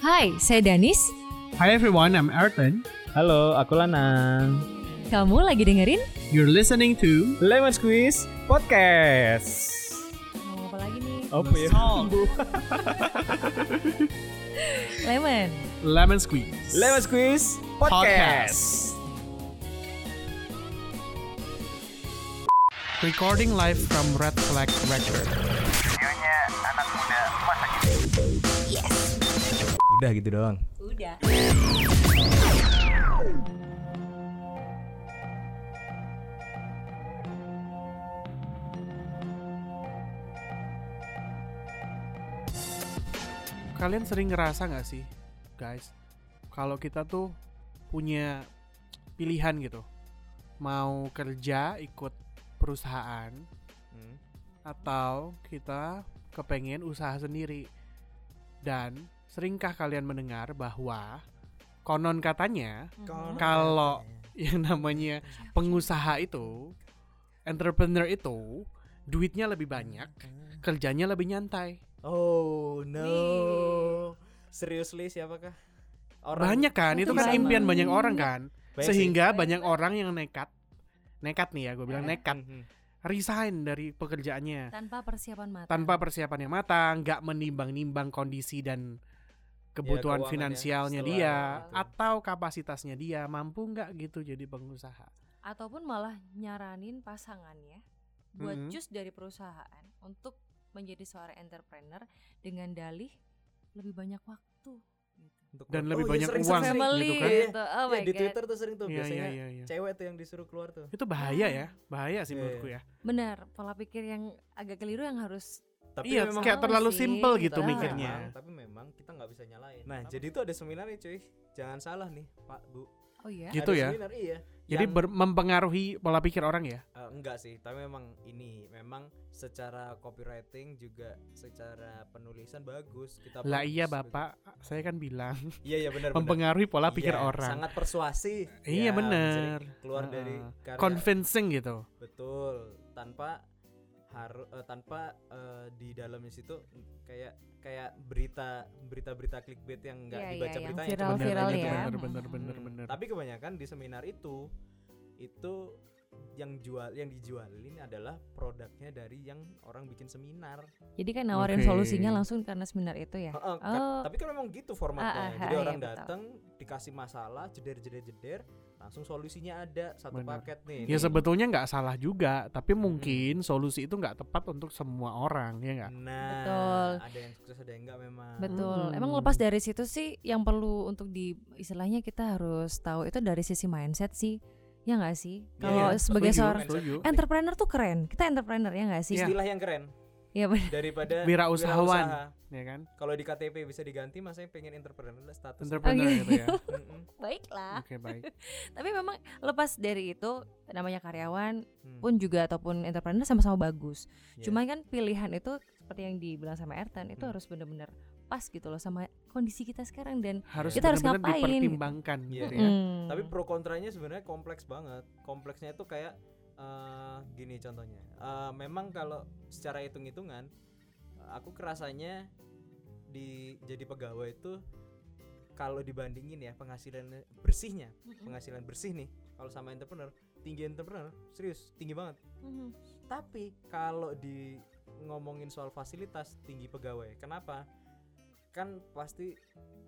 Hai, saya Danis. Hi everyone, I'm Arton. Halo, aku Lanang. Kamu lagi dengerin? You're listening to Lemon Squeeze Podcast. Mau apa lagi nih? Oh. Apa ya? Lemon. Lemon Squeeze. Lemon Squeeze Podcast. Recording live from Red Flag Record. Udah gitu doang. Udah. Kalian sering ngerasa nggak sih, guys, kalau kita tuh punya pilihan gitu, mau kerja ikut perusahaan Hmm, atau kita kepengen usaha sendiri. Dan seringkah kalian mendengar bahwa konon katanya kalau yang namanya pengusaha itu, entrepreneur itu, duitnya lebih banyak, kerjanya lebih nyantai. Oh Wih. no. Seriously siapakah? Banyak kan, itu kan Sama. impian banyak orang kan. Banyak sih. Sehingga banyak orang yang nekat, nekat nih ya, gue bilang nekat, Mhm. resign dari pekerjaannya Tanpa persiapan matang. tanpa persiapan yang matang, nggak menimbang-nimbang kondisi dan kebutuhan keuangannya finansialnya setelah dia itu. atau kapasitasnya dia mampu nggak gitu jadi pengusaha. Ataupun malah nyaranin pasangannya buat Mm-mm. cus dari perusahaan untuk menjadi seorang entrepreneur dengan dalih lebih banyak waktu. Untuk Dan keluar. lebih Oh, iya, banyak sering- uang. sering- Family gitu kan. gitu. Oh sering. my Iya, di God. Twitter tuh sering tuh Iya, biasanya iya, iya, iya. cewek tuh yang disuruh keluar tuh. Itu bahaya ya, bahaya sih Iya, menurutku ya. iya. Benar, pola pikir yang agak keliru yang harus Tapi iya, memang kayak tahu terlalu sih, simple gitu betul. mikirnya. memang- tapi memang kita nggak bisa nyalain. Nah, jadi tuh ada seminar nih, cuy. Jangan salah nih, Pak, Bu. oh ya. Gitu Ada ya? Seminar, iya. Jadi Yang- ber- mempengaruhi pola pikir orang ya. Eh, enggak sih, tapi memang ini memang secara copywriting juga secara penulisan bagus. Kita Lah bagus, iya bagus. Bapak, saya kan bilang Iya, iya benar benar. mempengaruhi pola pikir Iya, orang. Sangat persuasif. Iya, Ya, bener. jadi Keluar Ah, dari karya. Convincing gitu. Betul, tanpa harus tanpa eh, di dalamnya situ kayak kayak berita berita-berita clickbait yang enggak Iya, iya, dibaca yang beritanya cuma Viral bener, beritanya bener, ya. doang. bener, bener, bener, Hmm, bener. Tapi kebanyakan di seminar itu itu yang jual yang dijualin adalah produknya dari yang orang bikin seminar. Jadi kan nawarin Oke. solusinya langsung karena seminar itu ya. Heeh, ka- Oh. tapi kan memang gitu formatnya. Ah, ah, Jadi ah, orang iya, betul. datang dikasih masalah, jeder-jeder-jeder, langsung solusinya ada satu Bener. paket Ya nih. Ini- Hmm. sebetulnya nggak salah juga, tapi mungkin solusi itu nggak tepat untuk semua orang ya nggak. Nah, Betul. ada yang sukses ada yang enggak memang. Betul. Hmm. Emang lepas dari situ sih yang perlu untuk di istilahnya kita harus tahu itu dari sisi mindset sih. Ya nggak sih? Kalau Iya, sebagai setuju, Iya. seorang setuju. entrepreneur tuh keren. Kita entrepreneur ya nggak sih? Istilah yang keren Iya benar. daripada Wirausahawan. wirausaha. ya kan, Kalau di KTP bisa diganti, mas saya pengen entrepreneur lah status. entrepreneur Oke. gitu ya. Mm-mm. Baiklah. Oke baik. Tapi memang lepas dari itu namanya karyawan Hmm. pun juga ataupun entrepreneur sama-sama bagus. Iya. Cuman kan pilihan itu seperti yang dibilang sama Ertan itu Hmm. harus benar-benar pas gitu loh sama kondisi kita sekarang dan Harus Kita harus benar-benar ngapain gitu. dipertimbangkan Iya. gitu ya. Mm. Tapi pro kontranya sebenarnya kompleks banget. Kompleksnya itu kayak eh, gini contohnya. Eh, memang kalau secara hitung-hitungan, eh, aku kerasanya di jadi pegawai itu kalau dibandingin ya penghasilan bersihnya, Hmm. penghasilan bersih nih kalau sama entrepreneur, tinggi entrepreneur, serius tinggi banget. Mm. Tapi kalau di ngomongin soal fasilitas tinggi pegawai, kenapa? Kan pasti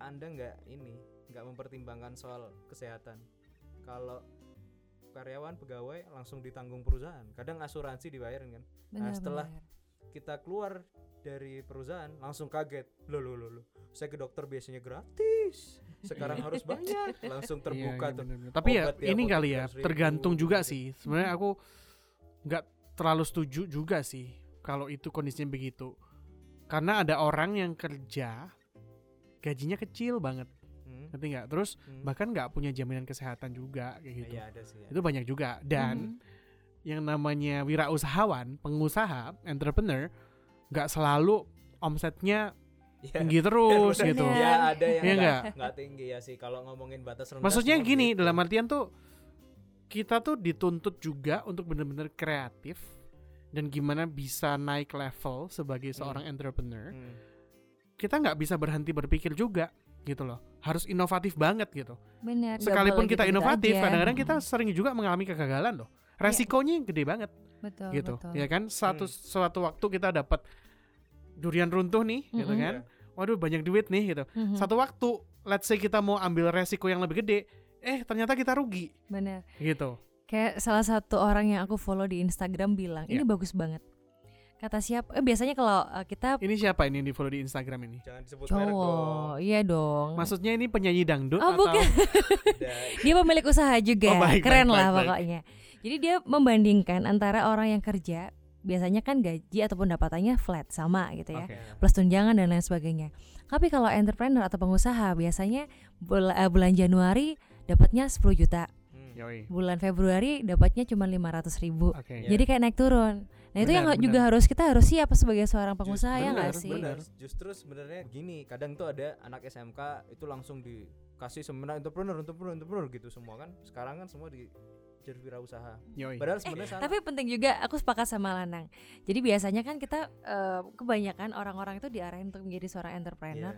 anda nggak ini nggak mempertimbangkan soal kesehatan. Kalau karyawan pegawai langsung ditanggung perusahaan. Kadang asuransi dibayarin kan. Nah, Benar, setelah benar. Kita keluar dari perusahaan langsung kaget. Loh loh loh loh. Saya ke dokter biasanya gratis. Sekarang harus banyak. Langsung Iya, terbuka iya, tuh. benar-benar. Tapi ya Obat di ini apotek kali ya 300.000, tergantung juga gitu. sih. Sebenarnya aku nggak terlalu setuju juga sih kalau itu kondisinya begitu. Karena ada orang yang kerja gajinya kecil banget, Hmm, ngerti nggak? Terus hmm. bahkan nggak punya jaminan kesehatan juga kayak gitu. Iya, ada sih. ya. Itu banyak juga dan Mhm. yang namanya wirausahawan, pengusaha, entrepreneur, nggak selalu omsetnya Iya. tinggi terus Bener. gitu. Iya. Ya ada yang Iya nggak nggak? nggak tinggi ya sih kalau ngomongin batas rendah. Maksudnya semua gini, begitu. dalam artian tuh kita tuh dituntut juga untuk benar-benar kreatif dan gimana bisa naik level sebagai seorang entrepreneur. Hmm. Kita nggak bisa berhenti berpikir juga, gitu loh. Harus inovatif banget gitu. Bener. Sekalipun double kita gitu-gitu inovatif, aja. Hmm. Iya. kadang-kadang kita sering juga mengalami kegagalan loh. Resikonya yang gede banget betul, gitu. betul. Ya kan? Satu Hmm. suatu waktu kita dapat durian runtuh nih gitu Mm-mm. kan. Iya, Waduh banyak duit nih gitu. Mhm, Satu waktu let's say kita mau ambil resiko yang lebih gede, eh ternyata kita rugi bener. gitu. Kayak salah satu orang yang aku follow di Instagram bilang ini Iya. bagus banget. Kata siapa? Eh, biasanya kalau eh, kita Ini siapa ini yang di follow di Instagram ini? Jangan disebut merek dong. cowok, iya dong. Maksudnya ini penyanyi dangdut Oh, atau bukan. Udah. dia pemilik usaha juga Oh, baik, keren baik, lah baik, baik. pokoknya jadi dia membandingkan antara orang yang kerja biasanya kan gaji ataupun dapatannya flat sama gitu ya Oke. Iya. plus tunjangan dan lain sebagainya tapi kalau entrepreneur atau pengusaha biasanya bul- eh, bulan Januari dapatnya 10 juta Hmm. Yoi. bulan Februari dapatnya cuma 500 ribu Oke. Ya. jadi kayak naik turun nah itu Benar, yang Iya. benar. juga harus kita harus siap sebagai seorang pengusaha ya nggak benar, sih benar. Benar. Justru sebenarnya gini, kadang tuh ada anak SMK itu langsung dikasih seminar entrepreneur, entrepreneur, entrepreneur gitu semua kan. Sekarang kan semua di jadi wirausaha. Yoi. Padahal sebenarnya salah. Eh, Tapi penting juga aku sepakat sama Lanang. Jadi biasanya kan kita eh, kebanyakan orang-orang itu diarahin untuk menjadi seorang Iya, entrepreneur,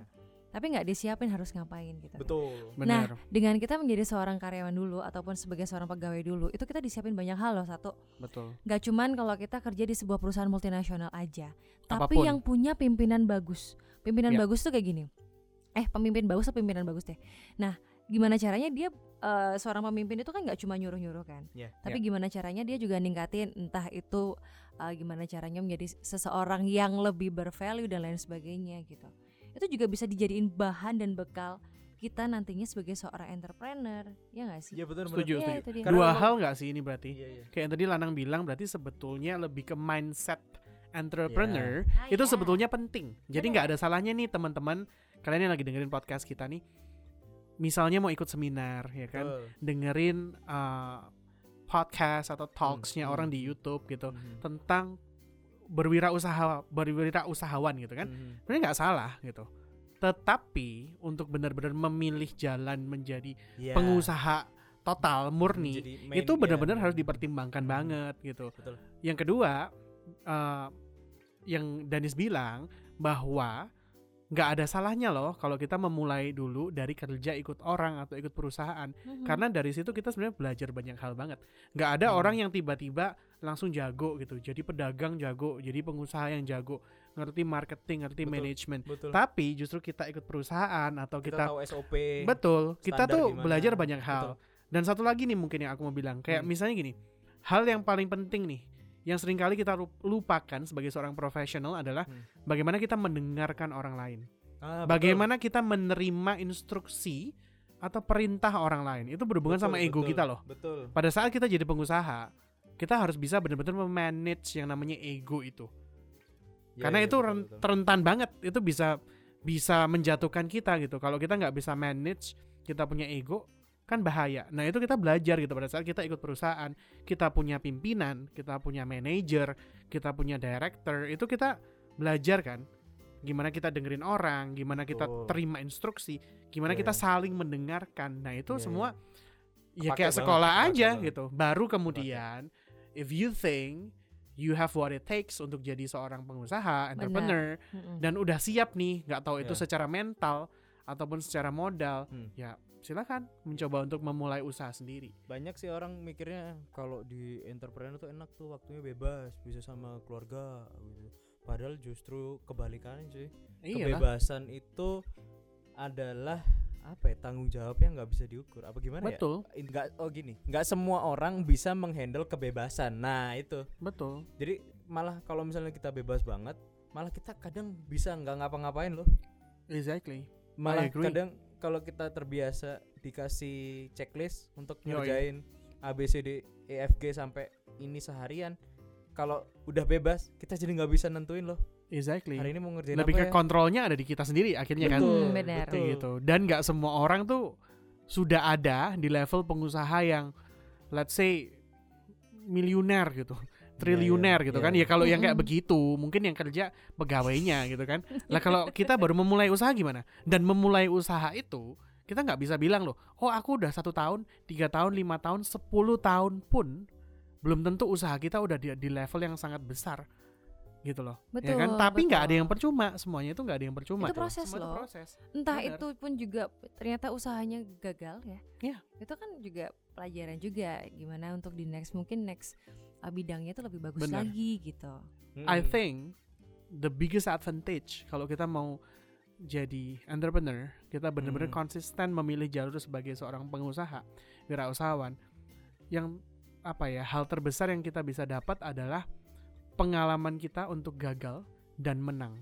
tapi nggak disiapin harus ngapain gitu. betul. Nah, Benar. dengan kita menjadi seorang karyawan dulu ataupun sebagai seorang pegawai dulu, itu kita disiapin banyak hal loh. Satu, betul. nggak cuman kalau kita kerja di sebuah perusahaan multinasional aja, tapi Apapun. yang punya pimpinan bagus. Pimpinan Ya. bagus tuh kayak gini. Eh, pemimpin bagus atau pimpinan bagus deh. Nah, gimana caranya dia eh, seorang pemimpin itu kan nggak cuma nyuruh-nyuruh kan? Iya. Tapi Ya. gimana caranya dia juga ningkatin entah itu uh, gimana caranya menjadi seseorang yang lebih bervalue dan lain sebagainya gitu. Itu juga bisa dijadiin bahan dan bekal kita nantinya sebagai seorang entrepreneur, ya nggak sih? Iya betul. benar. Setuju, Iya, setuju. itu dia. Karena Dua memang- hal nggak sih ini berarti? Iya, iya. Kayak yang tadi Lanang bilang berarti sebetulnya lebih ke mindset entrepreneur Ah, itu ya. sebetulnya penting. Jadi Benar. nggak ada salahnya nih teman-teman kalian yang lagi dengerin podcast kita nih. Misalnya mau ikut seminar ya kan, Betul. dengerin uh, podcast atau talksnya hmm. orang di YouTube gitu Mhm. tentang berwirausaha berwirausahawan gitu kan. Mhm. Sebenarnya nggak salah gitu. Tetapi untuk benar-benar memilih jalan menjadi Iya, pengusaha total murni menjadi main itu dia. benar-benar harus dipertimbangkan banget gitu. Betul. Yang kedua, eh, yang Danis bilang bahwa nggak ada salahnya loh kalau kita memulai dulu dari kerja ikut orang atau ikut perusahaan Hmm. Mhm. karena dari situ kita sebenarnya belajar banyak hal banget nggak ada Hmm. orang yang tiba-tiba langsung jago gitu jadi pedagang jago jadi pengusaha yang jago ngerti marketing ngerti Betul. manajemen Betul. tapi justru kita ikut perusahaan atau kita, kita tahu SOP. Betul, kita standar tuh gimana. belajar banyak hal. Betul. Dan satu lagi nih mungkin yang aku mau bilang, kayak Hmm. misalnya gini, hal yang paling penting nih, yang seringkali kita lup- lupakan sebagai seorang profesional adalah Hmm. bagaimana kita mendengarkan orang lain. Ah, betul. Bagaimana kita menerima instruksi atau perintah orang lain. Itu berhubungan Betul, sama ego betul, kita loh. Betul. Pada saat kita jadi pengusaha, kita harus bisa benar-benar memanage yang namanya ego itu. Iya, Karena iya, itu betul, ren- betul. rentan banget, itu bisa bisa menjatuhkan kita gitu. Kalau kita nggak bisa manage, kita punya ego kan bahaya. Nah itu kita belajar gitu pada saat kita ikut perusahaan, kita punya pimpinan, kita punya manajer, kita punya director, itu kita belajar kan. Gimana kita dengerin orang, gimana kita Betul. terima instruksi, gimana Iya, kita iya. saling mendengarkan. Nah itu Iya, iya. semua ya Kepake kayak banget, sekolah kepake aja banget. gitu. Baru kemudian if you think you have what it takes untuk jadi seorang pengusaha, entrepreneur Mhm. dan udah siap nih, nggak tahu itu Ya. secara mental ataupun secara modal, Hmm. ya silakan mencoba untuk memulai usaha sendiri. banyak sih orang mikirnya kalau di entrepreneur tuh enak tuh waktunya bebas bisa sama keluarga gitu padahal justru kebalikannya cuy Iya. kebebasan itu adalah apa ya tanggung jawabnya nggak bisa diukur apa gimana ya Betul, Eh, nggak oh gini nggak semua orang bisa menghandle kebebasan nah itu betul. jadi malah kalau misalnya kita bebas banget malah kita kadang bisa nggak ngapa-ngapain loh Exactly. malah agree. kadang kalau kita terbiasa dikasih checklist untuk Yoi. ngerjain ABCD EFG E, sampai ini seharian kalau udah bebas kita jadi nggak bisa nentuin loh Exactly. hari ini mau ngerjain Iya. Lebih apa ke ya kontrolnya ada di kita sendiri akhirnya kan. Betul, Hmm, benar. Kayak gitu. Dan nggak semua orang tuh sudah ada di level pengusaha yang let's say miliuner gitu, triliuner iya, gitu iya, kan. iya. Ya kalau yang kayak Mm-mm. begitu, mungkin yang kerja pegawainya gitu kan. Lah kalau kita baru memulai usaha gimana? Dan memulai usaha itu kita nggak bisa bilang loh, oh aku udah satu tahun, tiga tahun, lima tahun, sepuluh tahun pun belum tentu usaha kita udah di, di level yang sangat besar. gitu loh. Betul. ya kan? Tapi nggak ada betul. yang percuma, semuanya itu nggak ada yang percuma. Itu proses Semua itu loh. proses. entah Benar. itu pun juga ternyata usahanya gagal ya. Iya. Itu kan juga pelajaran juga gimana untuk di next mungkin next uh, bidangnya itu lebih bagus Benar. lagi gitu. I Hmm. think the biggest advantage kalau kita mau jadi entrepreneur, kita benar-benar Hmm. konsisten memilih jalur sebagai seorang pengusaha, wirausahawan. Yang apa ya, hal terbesar yang kita bisa dapat adalah pengalaman kita untuk gagal dan menang.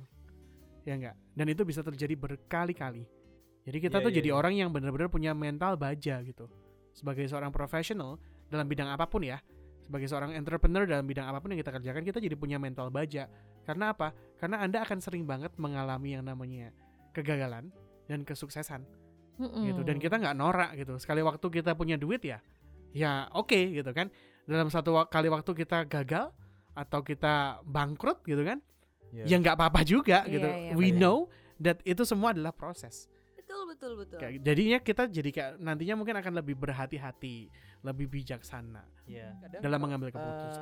Ya enggak? Dan itu bisa terjadi berkali-kali. Jadi kita Iya, tuh iya, jadi iya. orang yang benar-benar punya mental baja gitu. Sebagai seorang profesional dalam bidang apapun ya, sebagai seorang entrepreneur dalam bidang apapun yang kita kerjakan, kita jadi punya mental baja. Karena apa? Karena Anda akan sering banget mengalami yang namanya kegagalan dan kesuksesan gitu. Hmm. Dan kita nggak norak gitu. Sekali waktu kita punya duit ya, ya oke gitu kan. Dalam satu wa- kali waktu kita gagal atau kita bangkrut gitu kan, Iya. ya nggak apa-apa juga Iya, gitu. iya, We benar. know that itu semua adalah proses. betul betul betul. Kayak- gitu. Jadinya kita jadi kayak nantinya mungkin akan lebih berhati-hati, lebih bijaksana Kadang dalam kalau, mengambil eh, keputusan.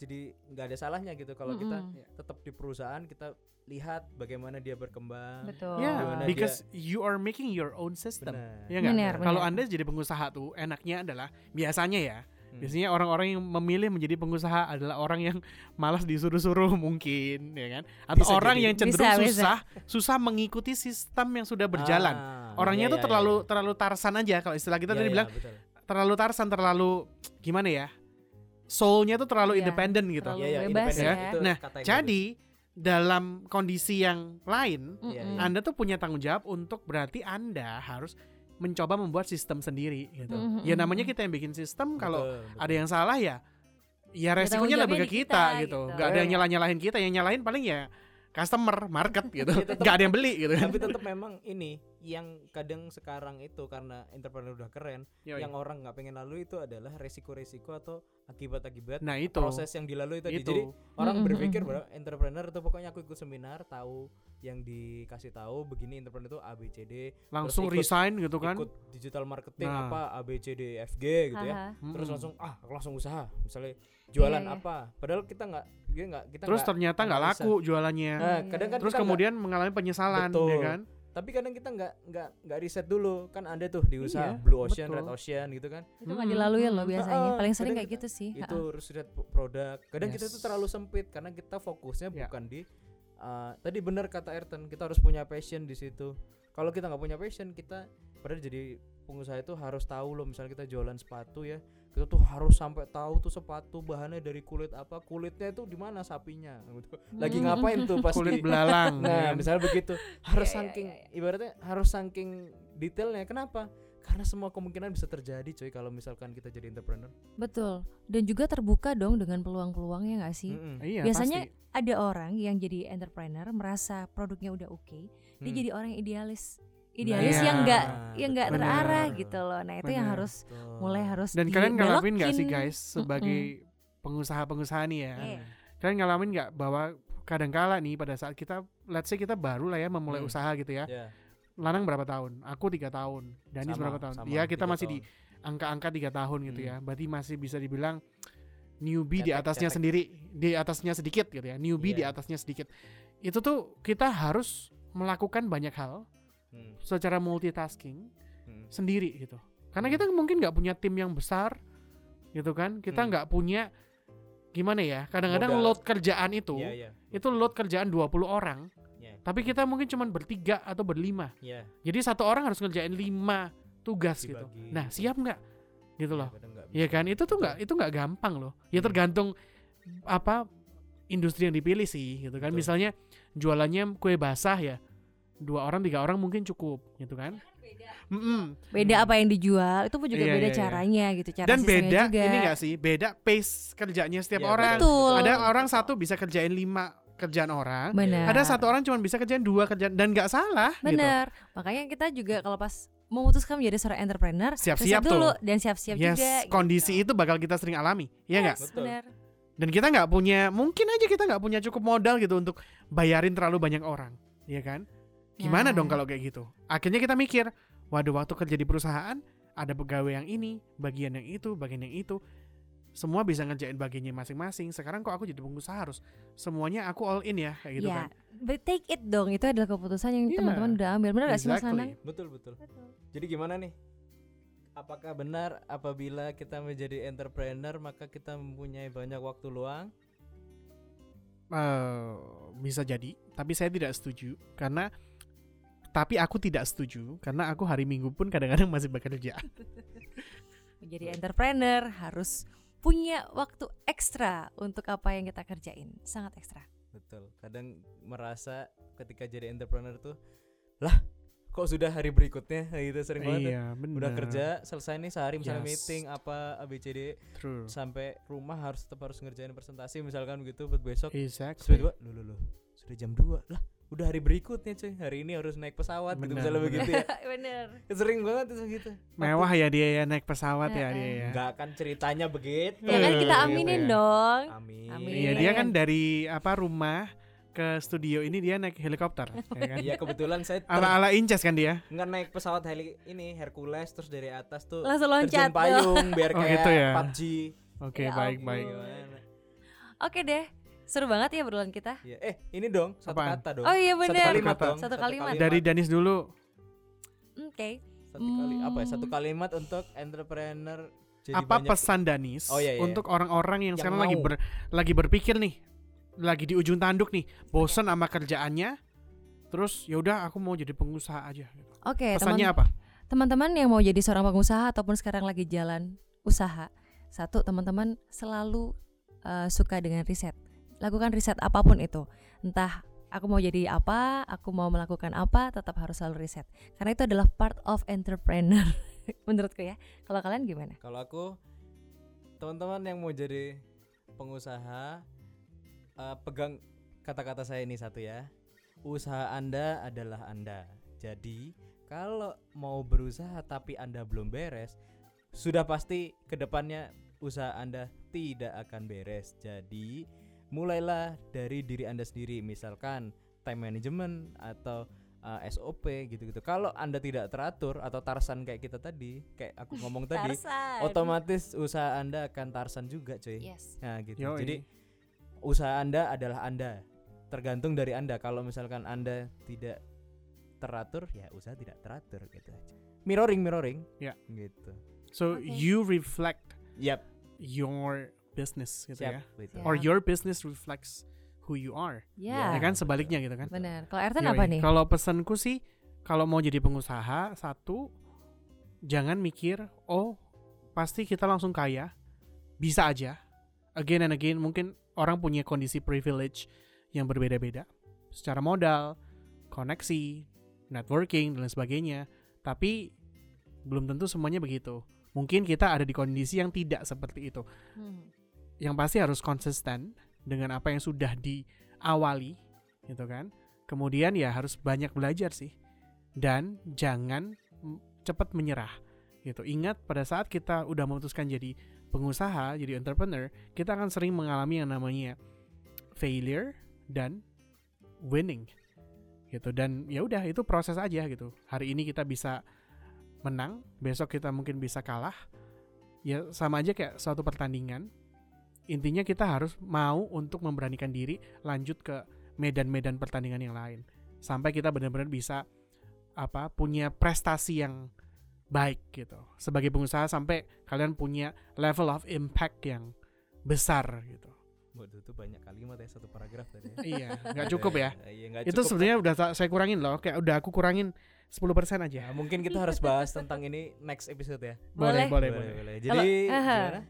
jadi nggak ada salahnya gitu kalau kita Mm-mm. tetap di perusahaan kita lihat bagaimana dia berkembang. Betul. Ya, Gimana dia- because you are making your own system. Benar. Ya nggak? Benar, Kalau benar. Anda jadi pengusaha tuh enaknya adalah biasanya ya, Hmm. biasanya orang-orang yang memilih menjadi pengusaha adalah orang yang malas disuruh-suruh mungkin, ya kan? Atau Bisa orang jadi. yang cenderung Bisa, bisa. susah, susah mengikuti sistem yang sudah berjalan. Ah, Orangnya iya, tuh iya, terlalu iya. terlalu tarsan aja kalau istilah kita Iya, tadi iya, bilang betul. terlalu tarsan, terlalu gimana ya? Soulnya tuh Iya, terlalu independen gitu. terlalu Iya, iya, bebas independen. ya. Itu Nah, kata yang bagus. Jadi dalam kondisi yang lain, Iya, Mm-mm. iya. Anda tuh punya tanggung jawab untuk berarti Anda harus mencoba membuat sistem sendiri gitu. Hmm, Mhm. Ya namanya kita yang bikin sistem kalau Betul, betul. ada yang salah ya ya resikonya tanggung lebih jawabnya di ke kita, kita, gitu. gitu. Gak ada yang Iya. nyalah-nyalahin kita, yang nyalahin paling ya customer, market gitu. Iya, tetep. Gak ada yang beli gitu kan. tapi tetap memang ini yang kadang sekarang itu karena entrepreneur udah keren Yoi. yang orang nggak pengen lalui itu adalah resiko-resiko atau akibat-akibat Nah, itu. proses yang dilalui tadi itu. jadi orang Mm-mm, berpikir mm-mm. bahwa entrepreneur itu pokoknya aku ikut seminar tahu yang dikasih tahu begini entrepreneur itu A B C D langsung ikut- resign gitu kan. ikut digital marketing Nah. Mm. apa A B C D E, F G gitu ya Mm-mm. terus langsung ah aku langsung usaha misalnya jualan Iya, iya. apa padahal kita nggak dia nggak kita Terus nggak ternyata nggak analisa. laku jualannya. Nah, kadang kan Terus kita nggak- kemudian mengalami penyesalan ya Betul. kan. tapi kadang kita nggak nggak nggak riset dulu kan ada tuh di usaha Iya, blue ocean betul. red ocean gitu kan Itu nggak dilalui loh biasanya. Ah, Paling sering kadang kayak gitu sih. itu harus riset p- produk kadang kita tuh Iya. Yes. terlalu sempit karena kita fokusnya Ya. bukan di uh, tadi benar kata Erten kita harus punya passion di situ kalau kita nggak punya passion kita padahal jadi pengusaha itu harus tahu loh misalnya kita jualan sepatu ya kita tuh harus sampai tahu tuh sepatu bahannya dari kulit apa kulitnya itu di mana sapinya gitu. lagi Hmm. ngapain tuh pas Kulit di- belalang. ya Nah, kan? misalnya begitu. Harus Iya, iya, saking iya, ibaratnya harus saking detailnya. Kenapa? Karena semua kemungkinan bisa terjadi, cuy, kalau misalkan kita jadi entrepreneur. Betul. Dan juga terbuka dong dengan peluang-peluangnya nggak sih? Mm-mm. Iya, biasanya pasti. ada orang yang jadi entrepreneur merasa produknya udah oke, dia Hmm. jadi orang yang idealis. Idealis Nah, yang enggak betul. yang enggak Benar. terarah gitu loh. Nah, itu yang Benar. harus Betul. mulai harus Dan kalian ngalamin nggak sih dibelokin. guys sebagai pengusaha-pengusaha nih ya? Iya. Eh, Kalian ngalamin nggak bahwa kadangkala nih pada saat kita, let's say kita baru lah ya memulai Hmm. usaha gitu Iya. ya. Ya, Lanang berapa tahun? Aku tiga tahun. Danis sama, berapa tahun? sama, ya kita tiga masih di tahun. angka-angka tiga tahun gitu Hmm. ya. Berarti masih bisa dibilang newbie di Cetek, atasnya cetek. sendiri, di atasnya sedikit gitu ya. Newbie di Iya. atasnya sedikit. Itu tuh kita harus melakukan banyak hal Hmm, secara multitasking hmm. sendiri gitu. Karena Hmm. kita mungkin nggak punya tim yang besar gitu kan. Kita Hmm. nggak punya gimana ya? Kadang-kadang Modal. load kerjaan itu Iya, iya. itu load kerjaan 20 orang, Iya. tapi kita mungkin cuman bertiga atau berlima. Iya, Jadi satu orang harus ngerjain lima tugas gitu. Dibagi. Nah, siap nggak? Gitu loh. kadang nggak Iya bisa. kan? Itu tuh nggak itu nggak gampang loh. Ya Hmm. tergantung apa industri yang dipilih sih gitu kan. Betul. Misalnya jualannya kue basah ya. Dua orang, tiga orang mungkin cukup gitu kan. Mm-mm. beda apa yang dijual, itu pun juga Iya, beda iya, iya. caranya gitu, cara Dan sistemnya beda juga. ini nggak sih? Beda pace kerjanya setiap Iya, orang. Betul. Ada orang satu bisa kerjain lima kerjaan orang. Benar. Ada satu orang cuma bisa kerjain dua kerjaan dan nggak salah gitu. Benar. Makanya kita juga kalau pas memutuskan menjadi seorang entrepreneur, Siap-siap riset dulu tuh. dan siap-siap yes, juga. gitu kondisi itu bakal kita sering alami, ya nggak? Yes, Betul. benar. Dan kita nggak punya, mungkin aja kita nggak punya cukup modal gitu untuk bayarin terlalu banyak orang, ya kan? Gimana Ya. dong kalau kayak gitu? Akhirnya kita mikir, waduh waktu kerja di perusahaan ada pegawai yang ini, bagian yang itu, bagian yang itu. semua bisa ngerjain bagiannya masing-masing. Sekarang kok aku jadi pengusaha harus semuanya aku all in ya kayak gitu ya, kan. but take it dong. Itu adalah keputusan yang Iya. teman-teman udah ambil. Benar nggak sih Mas Nanang? Exactly. Betul betul. Jadi gimana nih? Apakah benar apabila kita menjadi entrepreneur maka kita mempunyai banyak waktu luang? Eh, bisa jadi, tapi saya tidak setuju karena tapi aku tidak setuju karena aku hari Minggu pun kadang-kadang masih bekerja. Menjadi entrepreneur harus punya waktu ekstra untuk apa yang kita kerjain. Sangat ekstra. Betul. Kadang merasa ketika jadi entrepreneur tuh lah kok sudah hari berikutnya Nah, gitu sering banget. tuh. Iya, benar. Udah kerja selesai nih sehari misalnya Yes. meeting apa ABCD True. sampai rumah harus tetap harus ngerjain presentasi misalkan gitu buat Iya, besok. Exactly. Sudah dua, loh, loh, loh. Sudah jam 2 lah. Udah hari berikutnya cuy. Hari ini harus naik pesawat gitu Benar, misalnya benar. begitu ya. Bener. Sering banget tuh gitu. Mewah ya dia ya naik pesawat ya Heeh. dia ya. Enggak kan ceritanya begitu. Ya kan kita Eh, aminin iya. dong. Amin. Amin. Iya, dia kan dari apa rumah ke studio ini dia naik helikopter ya kan. Iya kebetulan saya ter- Ala-ala Inces kan dia. nggak naik pesawat heli ini Hercules terus dari atas tuh Langsung terjun loncat. loh. payung biar Oh, kayak gitu ya. PUBG. Oke, Ya baik-baik. ampun. Gimana? Oke deh. Seru banget ya berduaan kita. Iya. Eh ini dong satu Apaan? kata dong. Oh iya Satu bener. kalimat Satu dong. Satu kalimat. Dari Danis dulu. Oke. satu kali apa ya? Satu Hmm. kalimat untuk entrepreneur jadi apa banyak pesan Danis Oh, iya, iya. untuk orang-orang yang, Yang sekarang lagi mau. ber- lagi berpikir nih, lagi di ujung tanduk nih, bosen sama kerjaannya, terus yaudah aku mau jadi pengusaha aja. gitu. Oke, Pesannya teman- apa? teman-teman yang mau jadi seorang pengusaha ataupun sekarang lagi jalan usaha. Satu, teman-teman selalu eh, suka dengan riset. Lakukan riset apapun itu. Entah aku mau jadi apa, aku mau melakukan apa, tetap harus selalu riset. Karena itu adalah part of entrepreneur menurutku ya. Kalau kalian gimana? Kalau aku teman-teman yang mau jadi pengusaha eh, pegang kata-kata saya ini satu ya. Usaha Anda adalah Anda. Jadi, kalau mau berusaha tapi Anda belum beres, sudah pasti kedepannya usaha Anda tidak akan beres. Jadi, mulailah dari diri Anda sendiri. Misalkan time management atau eh, SOP gitu-gitu. Kalau Anda tidak teratur atau tarsan kayak kita tadi, kayak aku ngomong tadi, Tarsan. otomatis usaha Anda akan tarsan juga, cuy. Yes. Nah, gitu. Yoi. Jadi usaha Anda adalah Anda. Tergantung dari Anda. Kalau misalkan Anda tidak teratur, ya usaha tidak teratur gitu aja. Mirroring, mirroring. Ya. Gitu. So Oke. you reflect Yap, your business gitu siap ya, gitu. Siap. or your business reflects who you are. Ya. Ya kan sebaliknya gitu kan. Benar. Kalau Ertan Yoi. apa nih? Kalau pesanku sih, kalau mau jadi pengusaha, satu, jangan mikir, oh pasti kita langsung kaya, bisa aja. Again and again, mungkin orang punya kondisi privilege yang berbeda-beda, secara modal, koneksi, networking dan lain sebagainya. Tapi belum tentu semuanya begitu. Mungkin kita ada di kondisi yang tidak seperti itu Hmm. yang pasti harus konsisten dengan apa yang sudah diawali gitu kan kemudian ya harus banyak belajar sih dan jangan mm, cepat menyerah gitu ingat pada saat kita udah memutuskan jadi pengusaha jadi entrepreneur kita akan sering mengalami yang namanya failure dan winning gitu dan ya udah itu proses aja gitu hari ini kita bisa menang besok kita mungkin bisa kalah ya sama aja kayak suatu pertandingan intinya kita harus mau untuk memberanikan diri lanjut ke medan-medan pertandingan yang lain sampai kita benar-benar bisa apa punya prestasi yang baik gitu sebagai pengusaha sampai kalian punya level of impact yang besar gitu Waduh, itu banyak kalimat ya satu paragraf tadi. ya. iya nggak cukup ya Iya, nggak itu cukup. sebenarnya udah sa- saya kurangin loh kayak udah aku kurangin 10% Nah, aja mungkin kita harus bahas tentang ini next episode ya. Boleh. boleh boleh boleh, Jadi Kalau- aha. Ya. gimana?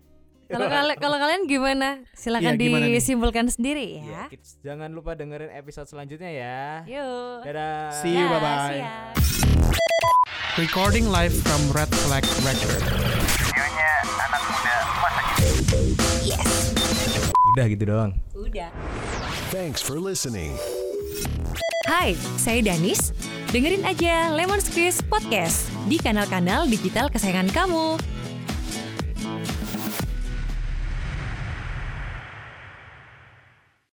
Kalau kal- kalau kalian gimana? Silakan Iya, gimana nih? disimpulkan sendiri Iya, ya. kids, jangan lupa dengerin episode selanjutnya ya. Iya, Yuk. Dadah. Iya, See you, Ya, bye-bye. siap. recording live from Red Flag Record Udah gitu doang. Udah. Thanks for listening. Hai, saya Danis. Dengerin aja Lemon Squeeze Podcast di kanal-kanal digital kesayangan kamu.